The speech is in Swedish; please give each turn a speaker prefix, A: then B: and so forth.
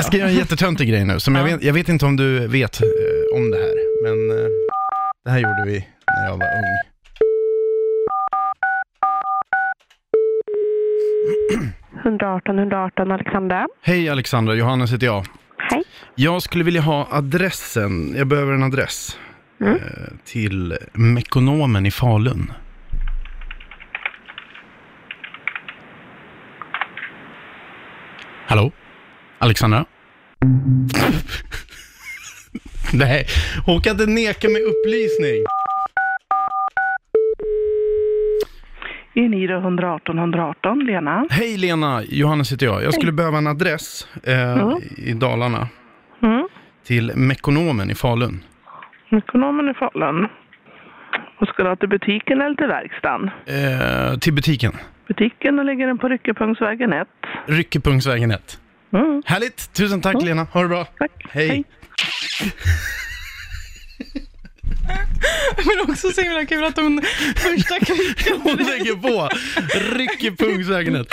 A: Jag ska göra en jättetöntig grej nu, som jag,
B: Ja.
A: vet, jag vet inte om du vet eh, om det här, men eh, det här gjorde vi när jag var ung.
C: Alexandra.
A: Hej Alexandra, Johannes heter jag.
C: Hej.
A: Jag skulle vilja ha adressen, jag behöver en adress, eh, till Mekonomen i Falun. Hallå? Alexandra? Nej, hon kan inte neka mig upplysning.
B: Eniro 118 118, Lena.
A: Hej Lena, Johannes heter jag. Jag skulle behöva en adress eh,
B: Ja.
A: i Dalarna
B: Mm.
A: till Mekonomen i Falun.
B: Ekonomen i Falun. Och ska du ha till butiken eller till verkstaden?
A: Eh, till butiken.
B: Butiken och lägger den på Ryckepungsvägen 1.
A: Ryckepunktsvägen 1.
B: Mm.
A: Härligt! Tusen tack Lena, ha det bra.
B: Tack.
A: Hej.
D: Men också så himla kul att hon första kvickan
A: Hon lägger på Ryckepunktsvägen 1.